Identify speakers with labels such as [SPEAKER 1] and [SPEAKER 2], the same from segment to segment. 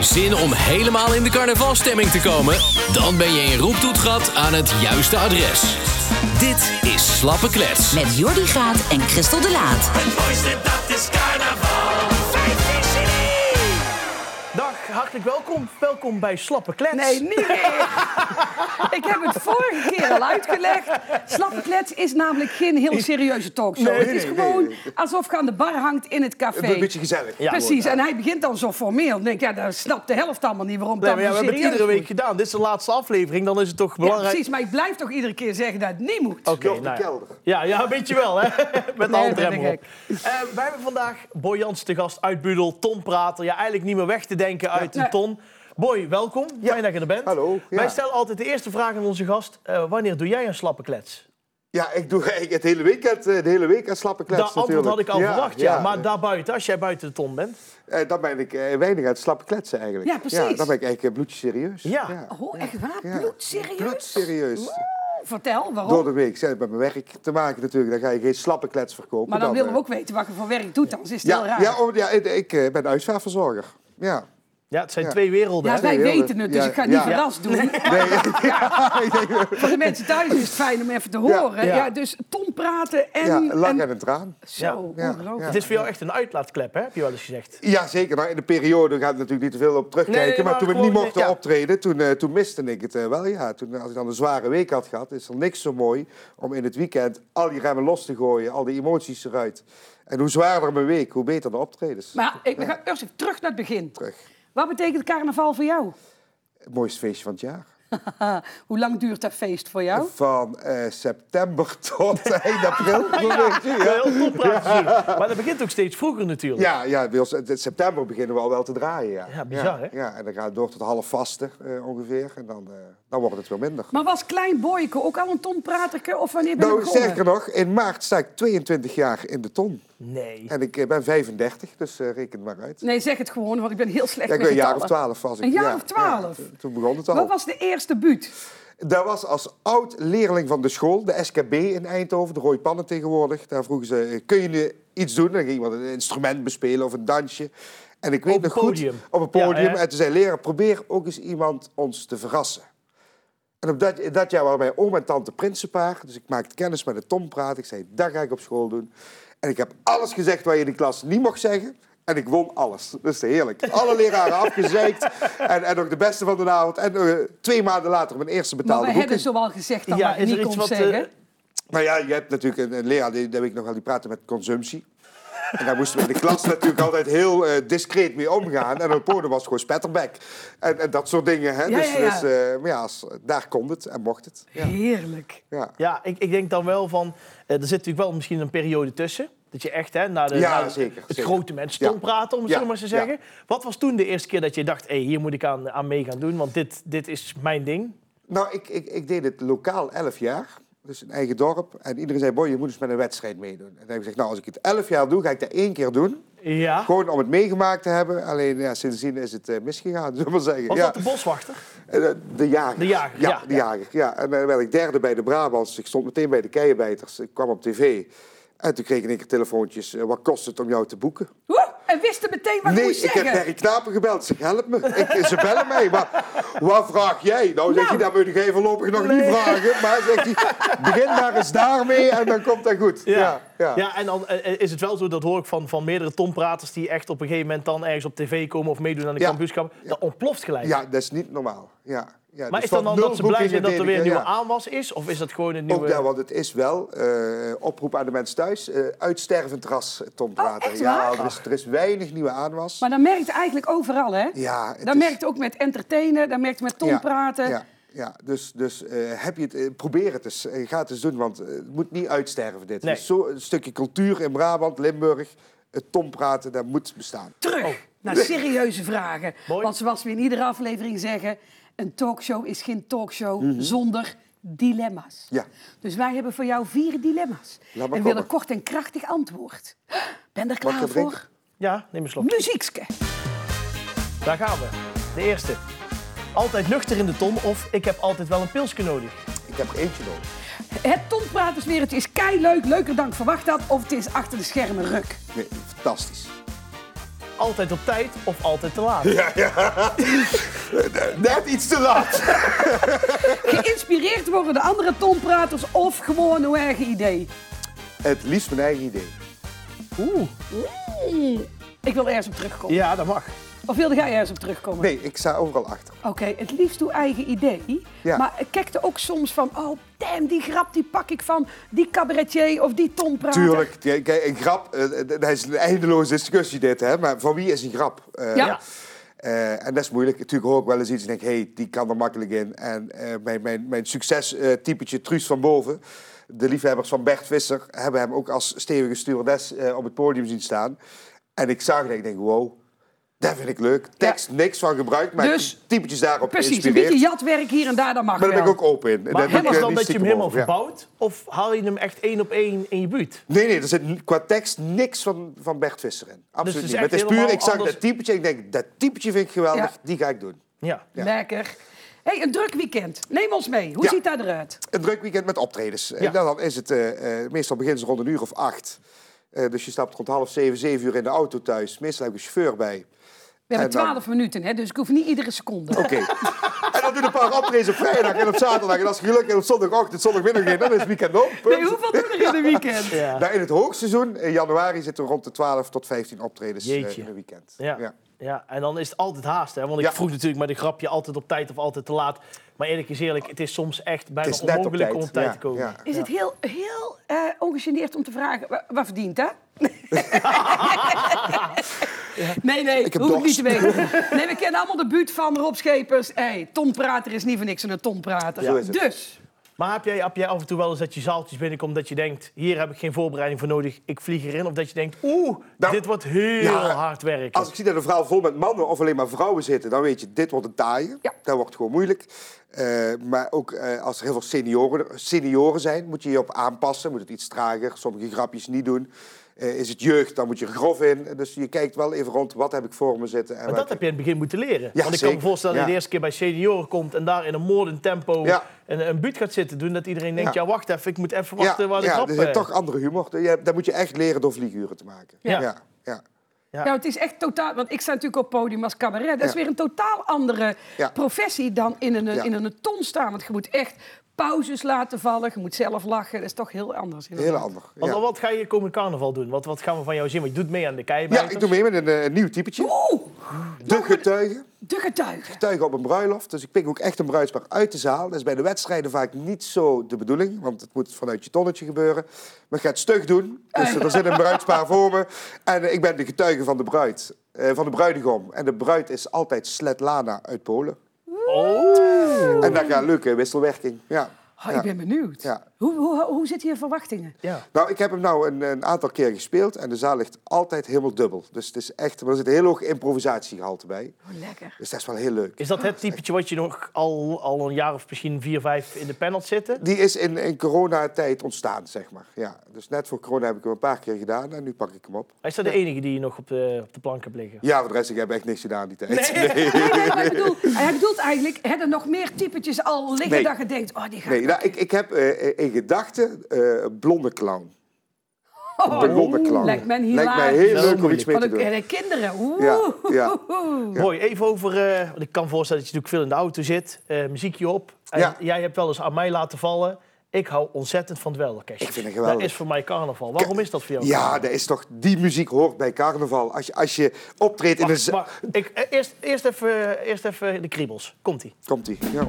[SPEAKER 1] Zin om helemaal in de carnavalstemming te komen? Dan ben je in Roeptoetgat aan het juiste adres. Dit is Slappe Klets.
[SPEAKER 2] Met Jordi Graat en Christel de Laat.
[SPEAKER 3] Het mooiste dat is carnaval. 15 juni.
[SPEAKER 4] Dag, hartelijk welkom. Welkom bij Slappe Klets.
[SPEAKER 5] Nee, niet meer. ik heb het vorige keer al uitgelegd. Slappe klets is namelijk geen heel serieuze talkshow.
[SPEAKER 6] Nee,
[SPEAKER 5] het is
[SPEAKER 6] nee,
[SPEAKER 5] gewoon
[SPEAKER 6] nee, nee.
[SPEAKER 5] alsof je aan de bar hangt in het café.
[SPEAKER 6] Een beetje gezellig.
[SPEAKER 5] Precies, en hij begint dan zo formeel. Ik denk, ja, daar snapt de helft allemaal niet waarom
[SPEAKER 4] Nee,
[SPEAKER 5] dat
[SPEAKER 4] maar ja, we
[SPEAKER 5] zo
[SPEAKER 4] hebben het
[SPEAKER 5] serieus
[SPEAKER 4] iedere week
[SPEAKER 5] moet.
[SPEAKER 4] gedaan. Dit is de laatste aflevering, dan is het toch
[SPEAKER 5] Ja,
[SPEAKER 4] belangrijk.
[SPEAKER 5] precies, maar ik blijf toch iedere keer zeggen dat het niet moet.
[SPEAKER 4] Oké,
[SPEAKER 6] Jordi
[SPEAKER 4] nou ja.
[SPEAKER 6] Kelder.
[SPEAKER 4] Ja, ja, weet je wel, hè? Met de
[SPEAKER 5] Nee,
[SPEAKER 4] handrem
[SPEAKER 5] ben ik
[SPEAKER 4] erop. Eh, wij hebben vandaag Boy Jans te gast uit Budel, Ton Prater. Ja, eigenlijk niet meer weg te denken uit
[SPEAKER 5] Nee.
[SPEAKER 4] Ton. Boy, welkom. Fijn dat je er bent.
[SPEAKER 6] Hallo, ja.
[SPEAKER 4] Wij stellen altijd de eerste vraag aan onze gast. eh, wanneer doe jij een slappe klets?
[SPEAKER 6] Ja, ik doe eigenlijk het hele weekend, eh, de hele week aan slappe klets
[SPEAKER 4] Dat antwoord
[SPEAKER 6] natuurlijk.
[SPEAKER 4] had ik al verwacht, ja. Maar
[SPEAKER 6] eh,
[SPEAKER 4] daarbuiten, als jij buiten de ton bent.
[SPEAKER 6] eh, dan ben ik eh, weinig aan het slappe kletsen eigenlijk.
[SPEAKER 5] Ja, precies.
[SPEAKER 6] dan ben ik eigenlijk eh, bloedje serieus.
[SPEAKER 4] Ja.
[SPEAKER 5] Oh, echt waar?
[SPEAKER 6] Ja.
[SPEAKER 5] Bloedserieus?
[SPEAKER 6] Bloedserieus.
[SPEAKER 5] Vertel, waarom?
[SPEAKER 6] Door de week. Zet het met mijn werk te maken natuurlijk. Dan ga je geen slappe klets verkopen.
[SPEAKER 5] Maar dan willen we
[SPEAKER 6] eh,
[SPEAKER 5] ook weten wat je voor werk doet, anders is het heel
[SPEAKER 6] Ja,
[SPEAKER 5] raar.
[SPEAKER 6] ja, oh, ja, ik- ik eh, ben uitvaartverzorger. Ja.
[SPEAKER 4] Ja, het zijn
[SPEAKER 6] Ja.
[SPEAKER 4] twee werelden.
[SPEAKER 5] Ja,
[SPEAKER 4] hè?
[SPEAKER 5] wij
[SPEAKER 6] heel erg.
[SPEAKER 5] weten het, dus
[SPEAKER 6] Ja,
[SPEAKER 5] ik ga niet
[SPEAKER 6] ja.
[SPEAKER 5] verrast doen. Voor de mensen thuis is het fijn om even te horen.
[SPEAKER 4] Ja.
[SPEAKER 5] Ja, dus Tom praten en...
[SPEAKER 6] ja, lang
[SPEAKER 5] en-
[SPEAKER 6] en een traan.
[SPEAKER 5] Zo,
[SPEAKER 6] Ja,
[SPEAKER 5] ongelooflijk.
[SPEAKER 4] Het is voor jou echt een uitlaatklep, hè? heb je wel eens gezegd.
[SPEAKER 6] Ja, zeker. Nou, in de periode ga ik natuurlijk niet te veel op terugkijken.
[SPEAKER 4] Nee, nee,
[SPEAKER 6] maar
[SPEAKER 4] maar
[SPEAKER 6] toen ik niet
[SPEAKER 4] gewoon,
[SPEAKER 6] mocht
[SPEAKER 4] ja.
[SPEAKER 6] optreden, toen, eh, toen miste ik het eh, wel. Ja. Toen, als ik dan een zware week had gehad, is er niks zo mooi om in het weekend al die remmen los te gooien, al die emoties eruit. En hoe zwaarder mijn week, hoe beter de optredens.
[SPEAKER 5] Maar ik we gaan eerst even terug naar het begin.
[SPEAKER 6] Terug.
[SPEAKER 5] Wat betekent carnaval voor jou?
[SPEAKER 6] Het mooiste feestje van het jaar.
[SPEAKER 5] Hoe lang duurt dat feest voor jou?
[SPEAKER 6] Van eh, september tot eind april. zo'n beetje, ja.
[SPEAKER 4] Heel Ton Prater zien. Maar dat begint ook steeds vroeger natuurlijk.
[SPEAKER 6] Ja, ja bij ons, in september beginnen we al wel te draaien. Ja,
[SPEAKER 4] Ja, bizar,
[SPEAKER 6] ja,
[SPEAKER 4] hè?
[SPEAKER 6] Ja, en dan gaat het door tot half vaste eh, ongeveer. En dan, eh, dan wordt het weer minder.
[SPEAKER 5] Maar was Klein Boyke ook al een tonpraterke? Of wanneer ben je
[SPEAKER 6] Nou,
[SPEAKER 5] begonnen?
[SPEAKER 6] sterker nog, in maart sta ik 22 jaar in de ton.
[SPEAKER 4] Nee.
[SPEAKER 6] En ik eh, ben 35, dus eh, reken het maar uit.
[SPEAKER 5] Nee, zeg het gewoon, want ik ben heel slecht
[SPEAKER 6] Ja,
[SPEAKER 5] met
[SPEAKER 6] ik ben een jaar of
[SPEAKER 5] getallen.
[SPEAKER 6] 12 was ik.
[SPEAKER 5] Een jaar
[SPEAKER 6] ja,
[SPEAKER 5] of 12?
[SPEAKER 6] ja, t- toen begon het
[SPEAKER 5] Wat
[SPEAKER 6] al.
[SPEAKER 5] was de eerste buurt?
[SPEAKER 6] Daar was als oud-leerling van de school, de SKB in Eindhoven, de Rooi Pannen tegenwoordig. Daar vroegen ze, eh, kun je nu iets doen? Dan ging iemand een instrument bespelen of een dansje. En ik weet
[SPEAKER 4] Op een
[SPEAKER 6] nog
[SPEAKER 4] podium.
[SPEAKER 6] goed, op een
[SPEAKER 4] Ja,
[SPEAKER 6] podium.
[SPEAKER 4] hè?
[SPEAKER 6] en toen zei leraar, probeer ook eens iemand ons te verrassen. En op dat, dat jaar waren mijn oom en tante prinsenpaar. Dus ik maakte kennis met de Tom praat. Ik zei, dat ga ik op school doen. En ik heb alles gezegd wat je in de klas niet mocht zeggen. En ik won alles. Dat is heerlijk. Alle leraren afgezeikt. En, en ook de beste van de avond. En eh, twee maanden later mijn eerste
[SPEAKER 5] Maar
[SPEAKER 6] betaalde
[SPEAKER 5] we hebben
[SPEAKER 6] boeking.
[SPEAKER 5] zowel gezegd dat
[SPEAKER 4] Ja,
[SPEAKER 5] wat je
[SPEAKER 4] is er
[SPEAKER 5] niet
[SPEAKER 4] iets
[SPEAKER 5] kon
[SPEAKER 4] wat... eh,
[SPEAKER 5] zeggen.
[SPEAKER 6] Nou ja, je hebt natuurlijk een, een leraar, die, dat weet ik nog wel, die praatte met consumptie. En daar moesten we in de klas natuurlijk altijd heel eh, discreet mee omgaan. En op podium was het gewoon spetterbek. En, en dat soort dingen. Hè?
[SPEAKER 5] Ja,
[SPEAKER 6] dus
[SPEAKER 5] ja, ja.
[SPEAKER 6] dus, eh, maar ja, als- daar kon het en mocht het. Ja.
[SPEAKER 5] Heerlijk.
[SPEAKER 6] Ja.
[SPEAKER 4] Ja, ik, ik denk dan wel van... eh, er zit natuurlijk wel misschien een periode tussen. Dat je echt hè, naar de,
[SPEAKER 6] Ja,
[SPEAKER 4] naar
[SPEAKER 6] zeker,
[SPEAKER 4] het
[SPEAKER 6] zeker.
[SPEAKER 4] grote mens stond
[SPEAKER 6] Ja.
[SPEAKER 4] praten, om het
[SPEAKER 6] Ja,
[SPEAKER 4] zo maar eens te
[SPEAKER 6] ja.
[SPEAKER 4] zeggen. Wat was toen de eerste keer dat je dacht... hé, hier moet ik aan, aan mee gaan doen, want dit, dit is mijn ding.
[SPEAKER 6] Nou, ik, ik, ik deed het lokaal 11 jaar. Dus een eigen dorp. En iedereen zei, boy, je moet eens met een wedstrijd meedoen. En toen heb ik gezegd, nou, als ik het 11 jaar doe, ga ik dat één keer doen.
[SPEAKER 4] Ja.
[SPEAKER 6] Gewoon om het meegemaakt te hebben. Alleen ja, sindsdien is het eh, misgegaan, zullen we maar zeggen.
[SPEAKER 4] Was
[SPEAKER 6] ja.
[SPEAKER 4] dat de boswachter?
[SPEAKER 6] Eh, De jager.
[SPEAKER 4] De jager, ja,
[SPEAKER 6] de
[SPEAKER 4] ja.
[SPEAKER 6] jager. Ja. En dan werd ik derde bij de Brabants. Ik stond meteen bij de Keienbijters. Ik kwam op tv. En toen kreeg ik een keer telefoontjes. eh, Wat kost het om jou te boeken?
[SPEAKER 5] Oeh, en wisten meteen wat ik
[SPEAKER 6] nee,
[SPEAKER 5] moest
[SPEAKER 6] ik
[SPEAKER 5] zeggen.
[SPEAKER 6] heb Harry Knapen gebeld. Zeg, help me. Ik, ze bellen mij. Maar wat vraag jij? Nou, zeg je, dat moet ik voorlopig nog niet vragen. Maar zegt hij, begin maar eens daarmee en dan komt dat goed. Ja, ja.
[SPEAKER 4] ja. en dan eh, is het wel zo, dat hoor ik van, van meerdere tonpraters... die echt op een gegeven moment dan ergens op tv komen... of meedoen aan de
[SPEAKER 6] Ja.
[SPEAKER 4] kampioenschap. Dat ontploft gelijk.
[SPEAKER 6] Ja, dat is niet normaal. Ja. Ja,
[SPEAKER 4] Maar
[SPEAKER 6] dus
[SPEAKER 4] is dan,
[SPEAKER 6] van
[SPEAKER 4] dan dat
[SPEAKER 6] nul
[SPEAKER 4] ze blij
[SPEAKER 6] boekingen
[SPEAKER 4] zijn dat
[SPEAKER 6] deed
[SPEAKER 4] er
[SPEAKER 6] ik,
[SPEAKER 4] weer een
[SPEAKER 6] eh,
[SPEAKER 4] nieuwe
[SPEAKER 6] ja.
[SPEAKER 4] aanwas is? Of is dat gewoon een
[SPEAKER 6] Ook
[SPEAKER 4] nieuwe...
[SPEAKER 6] daar, want het is wel eh, oproep aan de mensen thuis. eh, uitstervend ras, eh, Tom Prater.
[SPEAKER 5] Oh, echt
[SPEAKER 6] ja,
[SPEAKER 5] waar?
[SPEAKER 6] er is, er is weinig nieuwe aanwas.
[SPEAKER 5] Maar dat merkt eigenlijk overal, hè?
[SPEAKER 6] Ja, het
[SPEAKER 5] dat
[SPEAKER 6] is-
[SPEAKER 5] merkt ook met entertainen, dat merkt met Tom
[SPEAKER 6] Ja,
[SPEAKER 5] praten.
[SPEAKER 6] Ja, ja. dus, dus eh, heb je het, eh, probeer het eens. Eh, ga het eens doen, want eh, het moet niet uitsterven dit.
[SPEAKER 4] Nee.
[SPEAKER 6] Het is zo, een stukje cultuur in Brabant, Limburg. Het Tom Praten, dat moet bestaan.
[SPEAKER 5] Terug naar serieuze vragen.
[SPEAKER 4] Mooi.
[SPEAKER 5] Want zoals we in iedere aflevering zeggen... een talkshow is geen talkshow zonder dilemma's.
[SPEAKER 6] Mhm. Ja.
[SPEAKER 5] Dus wij hebben voor jou vier dilemma's.
[SPEAKER 6] maar
[SPEAKER 5] en
[SPEAKER 6] komen.
[SPEAKER 5] willen kort en krachtig antwoord. Ben je er
[SPEAKER 6] Mag ik
[SPEAKER 5] klaar
[SPEAKER 6] wat
[SPEAKER 5] voor?
[SPEAKER 6] drinken?
[SPEAKER 4] Ja, neem een slok.
[SPEAKER 5] Muziekske.
[SPEAKER 4] Daar gaan we. De eerste. Altijd nuchter in de ton of ik heb altijd wel een pilsje nodig.
[SPEAKER 6] Ik heb er eentje nodig.
[SPEAKER 5] Het Tom Praters weer, het is kei leuk, leuker dan ik verwacht had. Of het is achter de schermen ruk.
[SPEAKER 6] Nee, fantastisch.
[SPEAKER 4] altijd op tijd of altijd te laat.
[SPEAKER 6] Eh, Net iets te laat.
[SPEAKER 5] Geïnspireerd worden de andere tonpraters of gewoon uw eigen idee.
[SPEAKER 6] Het liefst mijn eigen idee.
[SPEAKER 4] Oeh.
[SPEAKER 5] Ik wil ergens op terugkomen.
[SPEAKER 4] Ja, dat mag.
[SPEAKER 5] Of wilde jij ergens op terugkomen?
[SPEAKER 6] Nee, ik sta overal achter.
[SPEAKER 5] Oké, het liefst uw eigen idee.
[SPEAKER 6] Ja.
[SPEAKER 5] Maar ik kijk ook soms van, oh damn, die grap die pak ik van die cabaretier of die tonprater.
[SPEAKER 6] Tuurlijk, kijk, een grap, eh, eh, dat is een eindeloze discussie dit, hè? maar van wie is een grap? Eh,
[SPEAKER 5] Ja.
[SPEAKER 6] eh, en dat is moeilijk. Natuurlijk hoor ik wel eens iets en denk, hey, die kan er makkelijk in. En eh, mijn, mijn, mijn succestypetje eh, Truus van Boven, de liefhebbers van Bert Visser, hebben hem ook als stevige stewardess eh, op het podium zien staan. En ik zag dat ik denk, wow, dat vind ik leuk. Tekst, niks van gebruikt, maar
[SPEAKER 5] Dus-
[SPEAKER 6] typetjes daarop
[SPEAKER 5] Precies, een
[SPEAKER 6] geïnspireerd.
[SPEAKER 5] beetje jatwerk hier en daar, dat mag
[SPEAKER 6] Maar daar ben
[SPEAKER 5] wel.
[SPEAKER 6] ik ook open in. En
[SPEAKER 4] Maar
[SPEAKER 6] daar doe ik,
[SPEAKER 4] helemaal
[SPEAKER 6] eh,
[SPEAKER 4] dan
[SPEAKER 6] niet
[SPEAKER 4] dat je hem
[SPEAKER 6] stiekem
[SPEAKER 4] helemaal
[SPEAKER 6] over, ja.
[SPEAKER 4] verbouwt? Of haal je hem echt één op één in je buurt?
[SPEAKER 6] Nee, nee, er zit n- qua tekst niks van, van Bert Visser in. Absoluut
[SPEAKER 4] Dus het is
[SPEAKER 6] niet. Maar
[SPEAKER 4] echt
[SPEAKER 6] het is puur,
[SPEAKER 4] helemaal
[SPEAKER 6] ik zag
[SPEAKER 4] anders-
[SPEAKER 6] dat typetje en ik denk, dat typetje vind ik geweldig,
[SPEAKER 5] Ja.
[SPEAKER 6] die ga ik doen.
[SPEAKER 4] Ja.
[SPEAKER 5] Lekker. hey, een druk weekend. Neem ons mee. Hoe
[SPEAKER 6] Ja.
[SPEAKER 5] ziet dat eruit?
[SPEAKER 6] Een druk weekend met optredens.
[SPEAKER 4] Ja.
[SPEAKER 6] En dan is het, eh, eh, meestal begint het rond een uur of acht. Eh, dus je stapt rond half zeven, zeven uur in de auto thuis. Meestal heb ik een chauffeur bij.
[SPEAKER 5] We hebben
[SPEAKER 6] En dan-
[SPEAKER 5] twaalf minuten, hè, dus ik hoef niet iedere seconde.
[SPEAKER 6] Oké. en dan doen een paar optredens op vrijdag en op zaterdag. En als je geluk hebt op zondagochtend, zondagmiddag, geen, dan is het weekend op. Punt.
[SPEAKER 5] Nee, hoeveel doen er in een weekend?
[SPEAKER 4] Ja.
[SPEAKER 6] Nou, in het hoogseizoen, in januari, zitten we rond de 12 tot 15 optredens eh,
[SPEAKER 4] Jeetje.
[SPEAKER 6] in een weekend.
[SPEAKER 4] Ja. ja. en dan is het altijd haast. Hè? Want ik
[SPEAKER 6] Ja.
[SPEAKER 4] vroeg natuurlijk met een grapje altijd op tijd of altijd te laat. Maar eerlijk is eerlijk, het is soms echt bijna
[SPEAKER 6] Het is net op
[SPEAKER 4] onmogelijk
[SPEAKER 6] tijd.
[SPEAKER 4] om op tijd
[SPEAKER 6] Ja,
[SPEAKER 4] te komen.
[SPEAKER 6] ja.
[SPEAKER 5] Is het heel, heel eh ongegeneerd om te vragen, wa- wat verdient hè? Nee, nee,
[SPEAKER 6] Ik heb
[SPEAKER 5] hoef ik niet te weten. Nee, we kennen allemaal de buurt van Rob Schepers. Hey, tonprater is niet voor niks een tonprater.
[SPEAKER 6] Zo is het.
[SPEAKER 5] Dus,
[SPEAKER 4] Maar heb jij, heb jij af en toe wel eens dat je zaaltjes binnenkomt dat je denkt... hier heb ik geen voorbereiding voor nodig, ik vlieg erin. Of dat je denkt, oeh,
[SPEAKER 6] Nou,
[SPEAKER 4] dit wordt heel
[SPEAKER 6] ja,
[SPEAKER 4] hard werken.
[SPEAKER 6] Als ik zie dat een verhaal vol met mannen of alleen maar vrouwen zitten, dan weet je, dit wordt een taaie.
[SPEAKER 5] Ja.
[SPEAKER 6] Dat wordt gewoon moeilijk. Eh, maar ook eh, als er heel veel senioren, senioren zijn, moet je je op aanpassen. Moet het iets trager, sommige grapjes niet doen. Eh, is het jeugd, dan moet je er grof in. Dus je kijkt wel even rond, wat heb ik voor me zitten. En
[SPEAKER 4] Maar dat
[SPEAKER 6] welke-
[SPEAKER 4] heb je in het begin moeten leren.
[SPEAKER 6] Ja,
[SPEAKER 4] Want ik kan
[SPEAKER 6] zeker.
[SPEAKER 4] me voorstellen dat je
[SPEAKER 6] Ja.
[SPEAKER 4] de eerste keer bij senioren komt... en daar in een moordend tempo
[SPEAKER 6] Ja.
[SPEAKER 4] een, een buurt gaat zitten doen... dat iedereen denkt, ja,
[SPEAKER 6] Ja.
[SPEAKER 4] wacht even, ik moet even wachten waar de
[SPEAKER 6] ja,
[SPEAKER 4] grap...
[SPEAKER 6] er zijn
[SPEAKER 4] eh,
[SPEAKER 6] toch andere humor. Ja, Dat moet je echt leren door vlieguren te maken.
[SPEAKER 4] Ja.
[SPEAKER 6] ja. ja.
[SPEAKER 4] Ja.
[SPEAKER 5] nou, het is echt totaal... Want ik sta natuurlijk op het podium als cabaret. Dat is
[SPEAKER 6] Ja.
[SPEAKER 5] weer een totaal andere
[SPEAKER 6] Ja.
[SPEAKER 5] professie dan in een,
[SPEAKER 6] Ja.
[SPEAKER 5] in een ton staan. Want je moet echt pauzes laten vallen. Je moet zelf lachen. Dat is toch heel anders.
[SPEAKER 6] Heel ander.
[SPEAKER 4] Want
[SPEAKER 6] Ja.
[SPEAKER 4] wat ga je komend carnaval doen? Wat, wat gaan we van jou zien? Want je doet mee aan de
[SPEAKER 6] Ja,
[SPEAKER 4] keienbijters.
[SPEAKER 6] ik doe mee met een, eh, nieuw typetje.
[SPEAKER 5] Oeh,
[SPEAKER 6] De getuigen.
[SPEAKER 5] de getuigen.
[SPEAKER 6] getuigen op een bruiloft. Dus ik pik ook echt een bruidspaar uit de zaal. Dat is bij de wedstrijden vaak niet zo de bedoeling. Want het moet vanuit je tonnetje gebeuren. Maar ik ga het stug doen. Dus er zit een bruidspaar voor me. En eh, ik ben de getuige van de bruid. eh, van de bruidegom. En de bruid is altijd Sletlana uit Polen. Oh. En daar gaat leuke wisselwerking. Ja.
[SPEAKER 5] Oh,
[SPEAKER 6] Ja.
[SPEAKER 5] Ik ben benieuwd.
[SPEAKER 6] Ja.
[SPEAKER 5] Hoe, hoe, hoe zitten je verwachtingen?
[SPEAKER 4] Ja.
[SPEAKER 6] Nou, ik heb hem nou een, een aantal keer gespeeld. En de zaal ligt altijd helemaal dubbel. Dus het is echt... Maar er zit een heel hoog improvisatiegehalte bij.
[SPEAKER 5] Oh, lekker.
[SPEAKER 6] Dus dat is wel heel leuk.
[SPEAKER 4] Is dat het typetje wat je nog al, al een jaar of misschien vier, vijf in de panel zitten?
[SPEAKER 6] Die is in, in coronatijd ontstaan, zeg maar. Ja, dus net voor corona heb ik hem een paar keer gedaan en nu pak ik hem op.
[SPEAKER 4] Is dat de enige die je nog op de, op de plank hebt liggen?
[SPEAKER 6] Ja, voor de rest, ik heb echt niks gedaan die tijd.
[SPEAKER 4] Nee.
[SPEAKER 5] Nee, nee, maar ik bedoel, hij bedoelt eigenlijk, hebben er nog meer typetjes al liggen
[SPEAKER 6] Nee.
[SPEAKER 5] dat je denkt, oh, die gaat...
[SPEAKER 6] Nee, nou, ik, ik heb eh, in gedachten eh blonde clown.
[SPEAKER 5] oh,
[SPEAKER 6] Een blonde clown.
[SPEAKER 5] Lijkt mij hilarisch.
[SPEAKER 6] Lijkt mij heel
[SPEAKER 4] Wel
[SPEAKER 6] leuk om
[SPEAKER 4] moeilijk.
[SPEAKER 6] iets mee
[SPEAKER 5] Want
[SPEAKER 6] te
[SPEAKER 5] ook,
[SPEAKER 6] doen.
[SPEAKER 5] eh, de kinderen, oeh.
[SPEAKER 6] Ja, ja.
[SPEAKER 4] Mooi, even over... eh, want ik kan me voorstellen dat je natuurlijk veel in de auto zit. eh, muziekje op. En
[SPEAKER 6] Ja.
[SPEAKER 4] jij hebt wel eens aan mij laten vallen. Ik hou ontzettend van dwelorkestjes.
[SPEAKER 6] Ik vind het geweldig.
[SPEAKER 4] Dat is voor mij carnaval. Waarom is dat voor jou?
[SPEAKER 6] Ja, dat is toch, die muziek hoort bij carnaval. Als je, als je optreedt in een...
[SPEAKER 4] Wacht,
[SPEAKER 6] za-
[SPEAKER 4] wacht. Ik, eh, eerst, eerst, even, eerst even de kriebels. Komt-ie.
[SPEAKER 6] Komt-ie. Ja.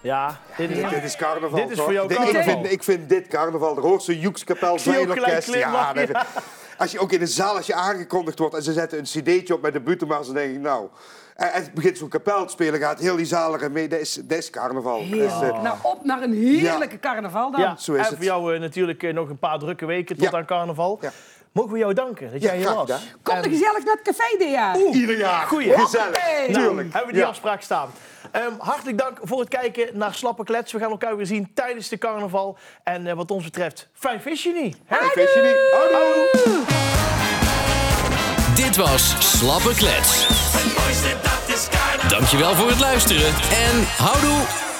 [SPEAKER 4] Ja, dit is...
[SPEAKER 6] Dit is carnaval.
[SPEAKER 4] Dit is
[SPEAKER 6] toch?
[SPEAKER 4] voor jou
[SPEAKER 6] Dit-
[SPEAKER 4] carnaval.
[SPEAKER 6] Ik vind, ik vind dit carnaval. Er hoort zo'n Joekskapel,
[SPEAKER 4] zie ook
[SPEAKER 6] Zwijnorkest.
[SPEAKER 4] gelijk
[SPEAKER 6] Ja,
[SPEAKER 4] glimlachen,
[SPEAKER 6] dat- Als je ook in de zaal, als je aangekondigd wordt en ze zetten een cd'tje op met de butenmars, dan denk ik, nou... En en het begint zo'n kapel te spelen, gaat heel die zaal er mee. Dat is, dat is carnaval. Dat is, eh,
[SPEAKER 5] Nou, op naar een heerlijke carnaval dan.
[SPEAKER 4] Ja,
[SPEAKER 6] zo is
[SPEAKER 4] en
[SPEAKER 6] het.
[SPEAKER 4] voor jou eh, natuurlijk eh, nog een paar drukke weken tot
[SPEAKER 6] Ja.
[SPEAKER 4] aan carnaval.
[SPEAKER 6] Ja.
[SPEAKER 4] Mogen we jou danken dat
[SPEAKER 6] Ja,
[SPEAKER 4] jij hier
[SPEAKER 6] graag
[SPEAKER 4] was?
[SPEAKER 6] gedaan.
[SPEAKER 5] Kom er gezellig naar het café dit jaar.
[SPEAKER 6] Ieder jaar.
[SPEAKER 4] Nou, Goeie.
[SPEAKER 6] Gezellig.
[SPEAKER 5] Hoppakee.
[SPEAKER 4] Nou,
[SPEAKER 6] Tuurlijk.
[SPEAKER 4] hebben we die
[SPEAKER 6] Ja.
[SPEAKER 4] afspraak staan. Ehm, hartelijk dank voor het kijken naar Slappe Klets. We gaan elkaar weer zien tijdens de carnaval. En eh, wat ons betreft, fijn visje niet. hè?
[SPEAKER 6] Ik weet je niet. Houdoe.
[SPEAKER 1] Dit was Slappe Klets.
[SPEAKER 3] Het mooiste dat is carnaval.
[SPEAKER 1] Dankjewel voor het luisteren en houdoe!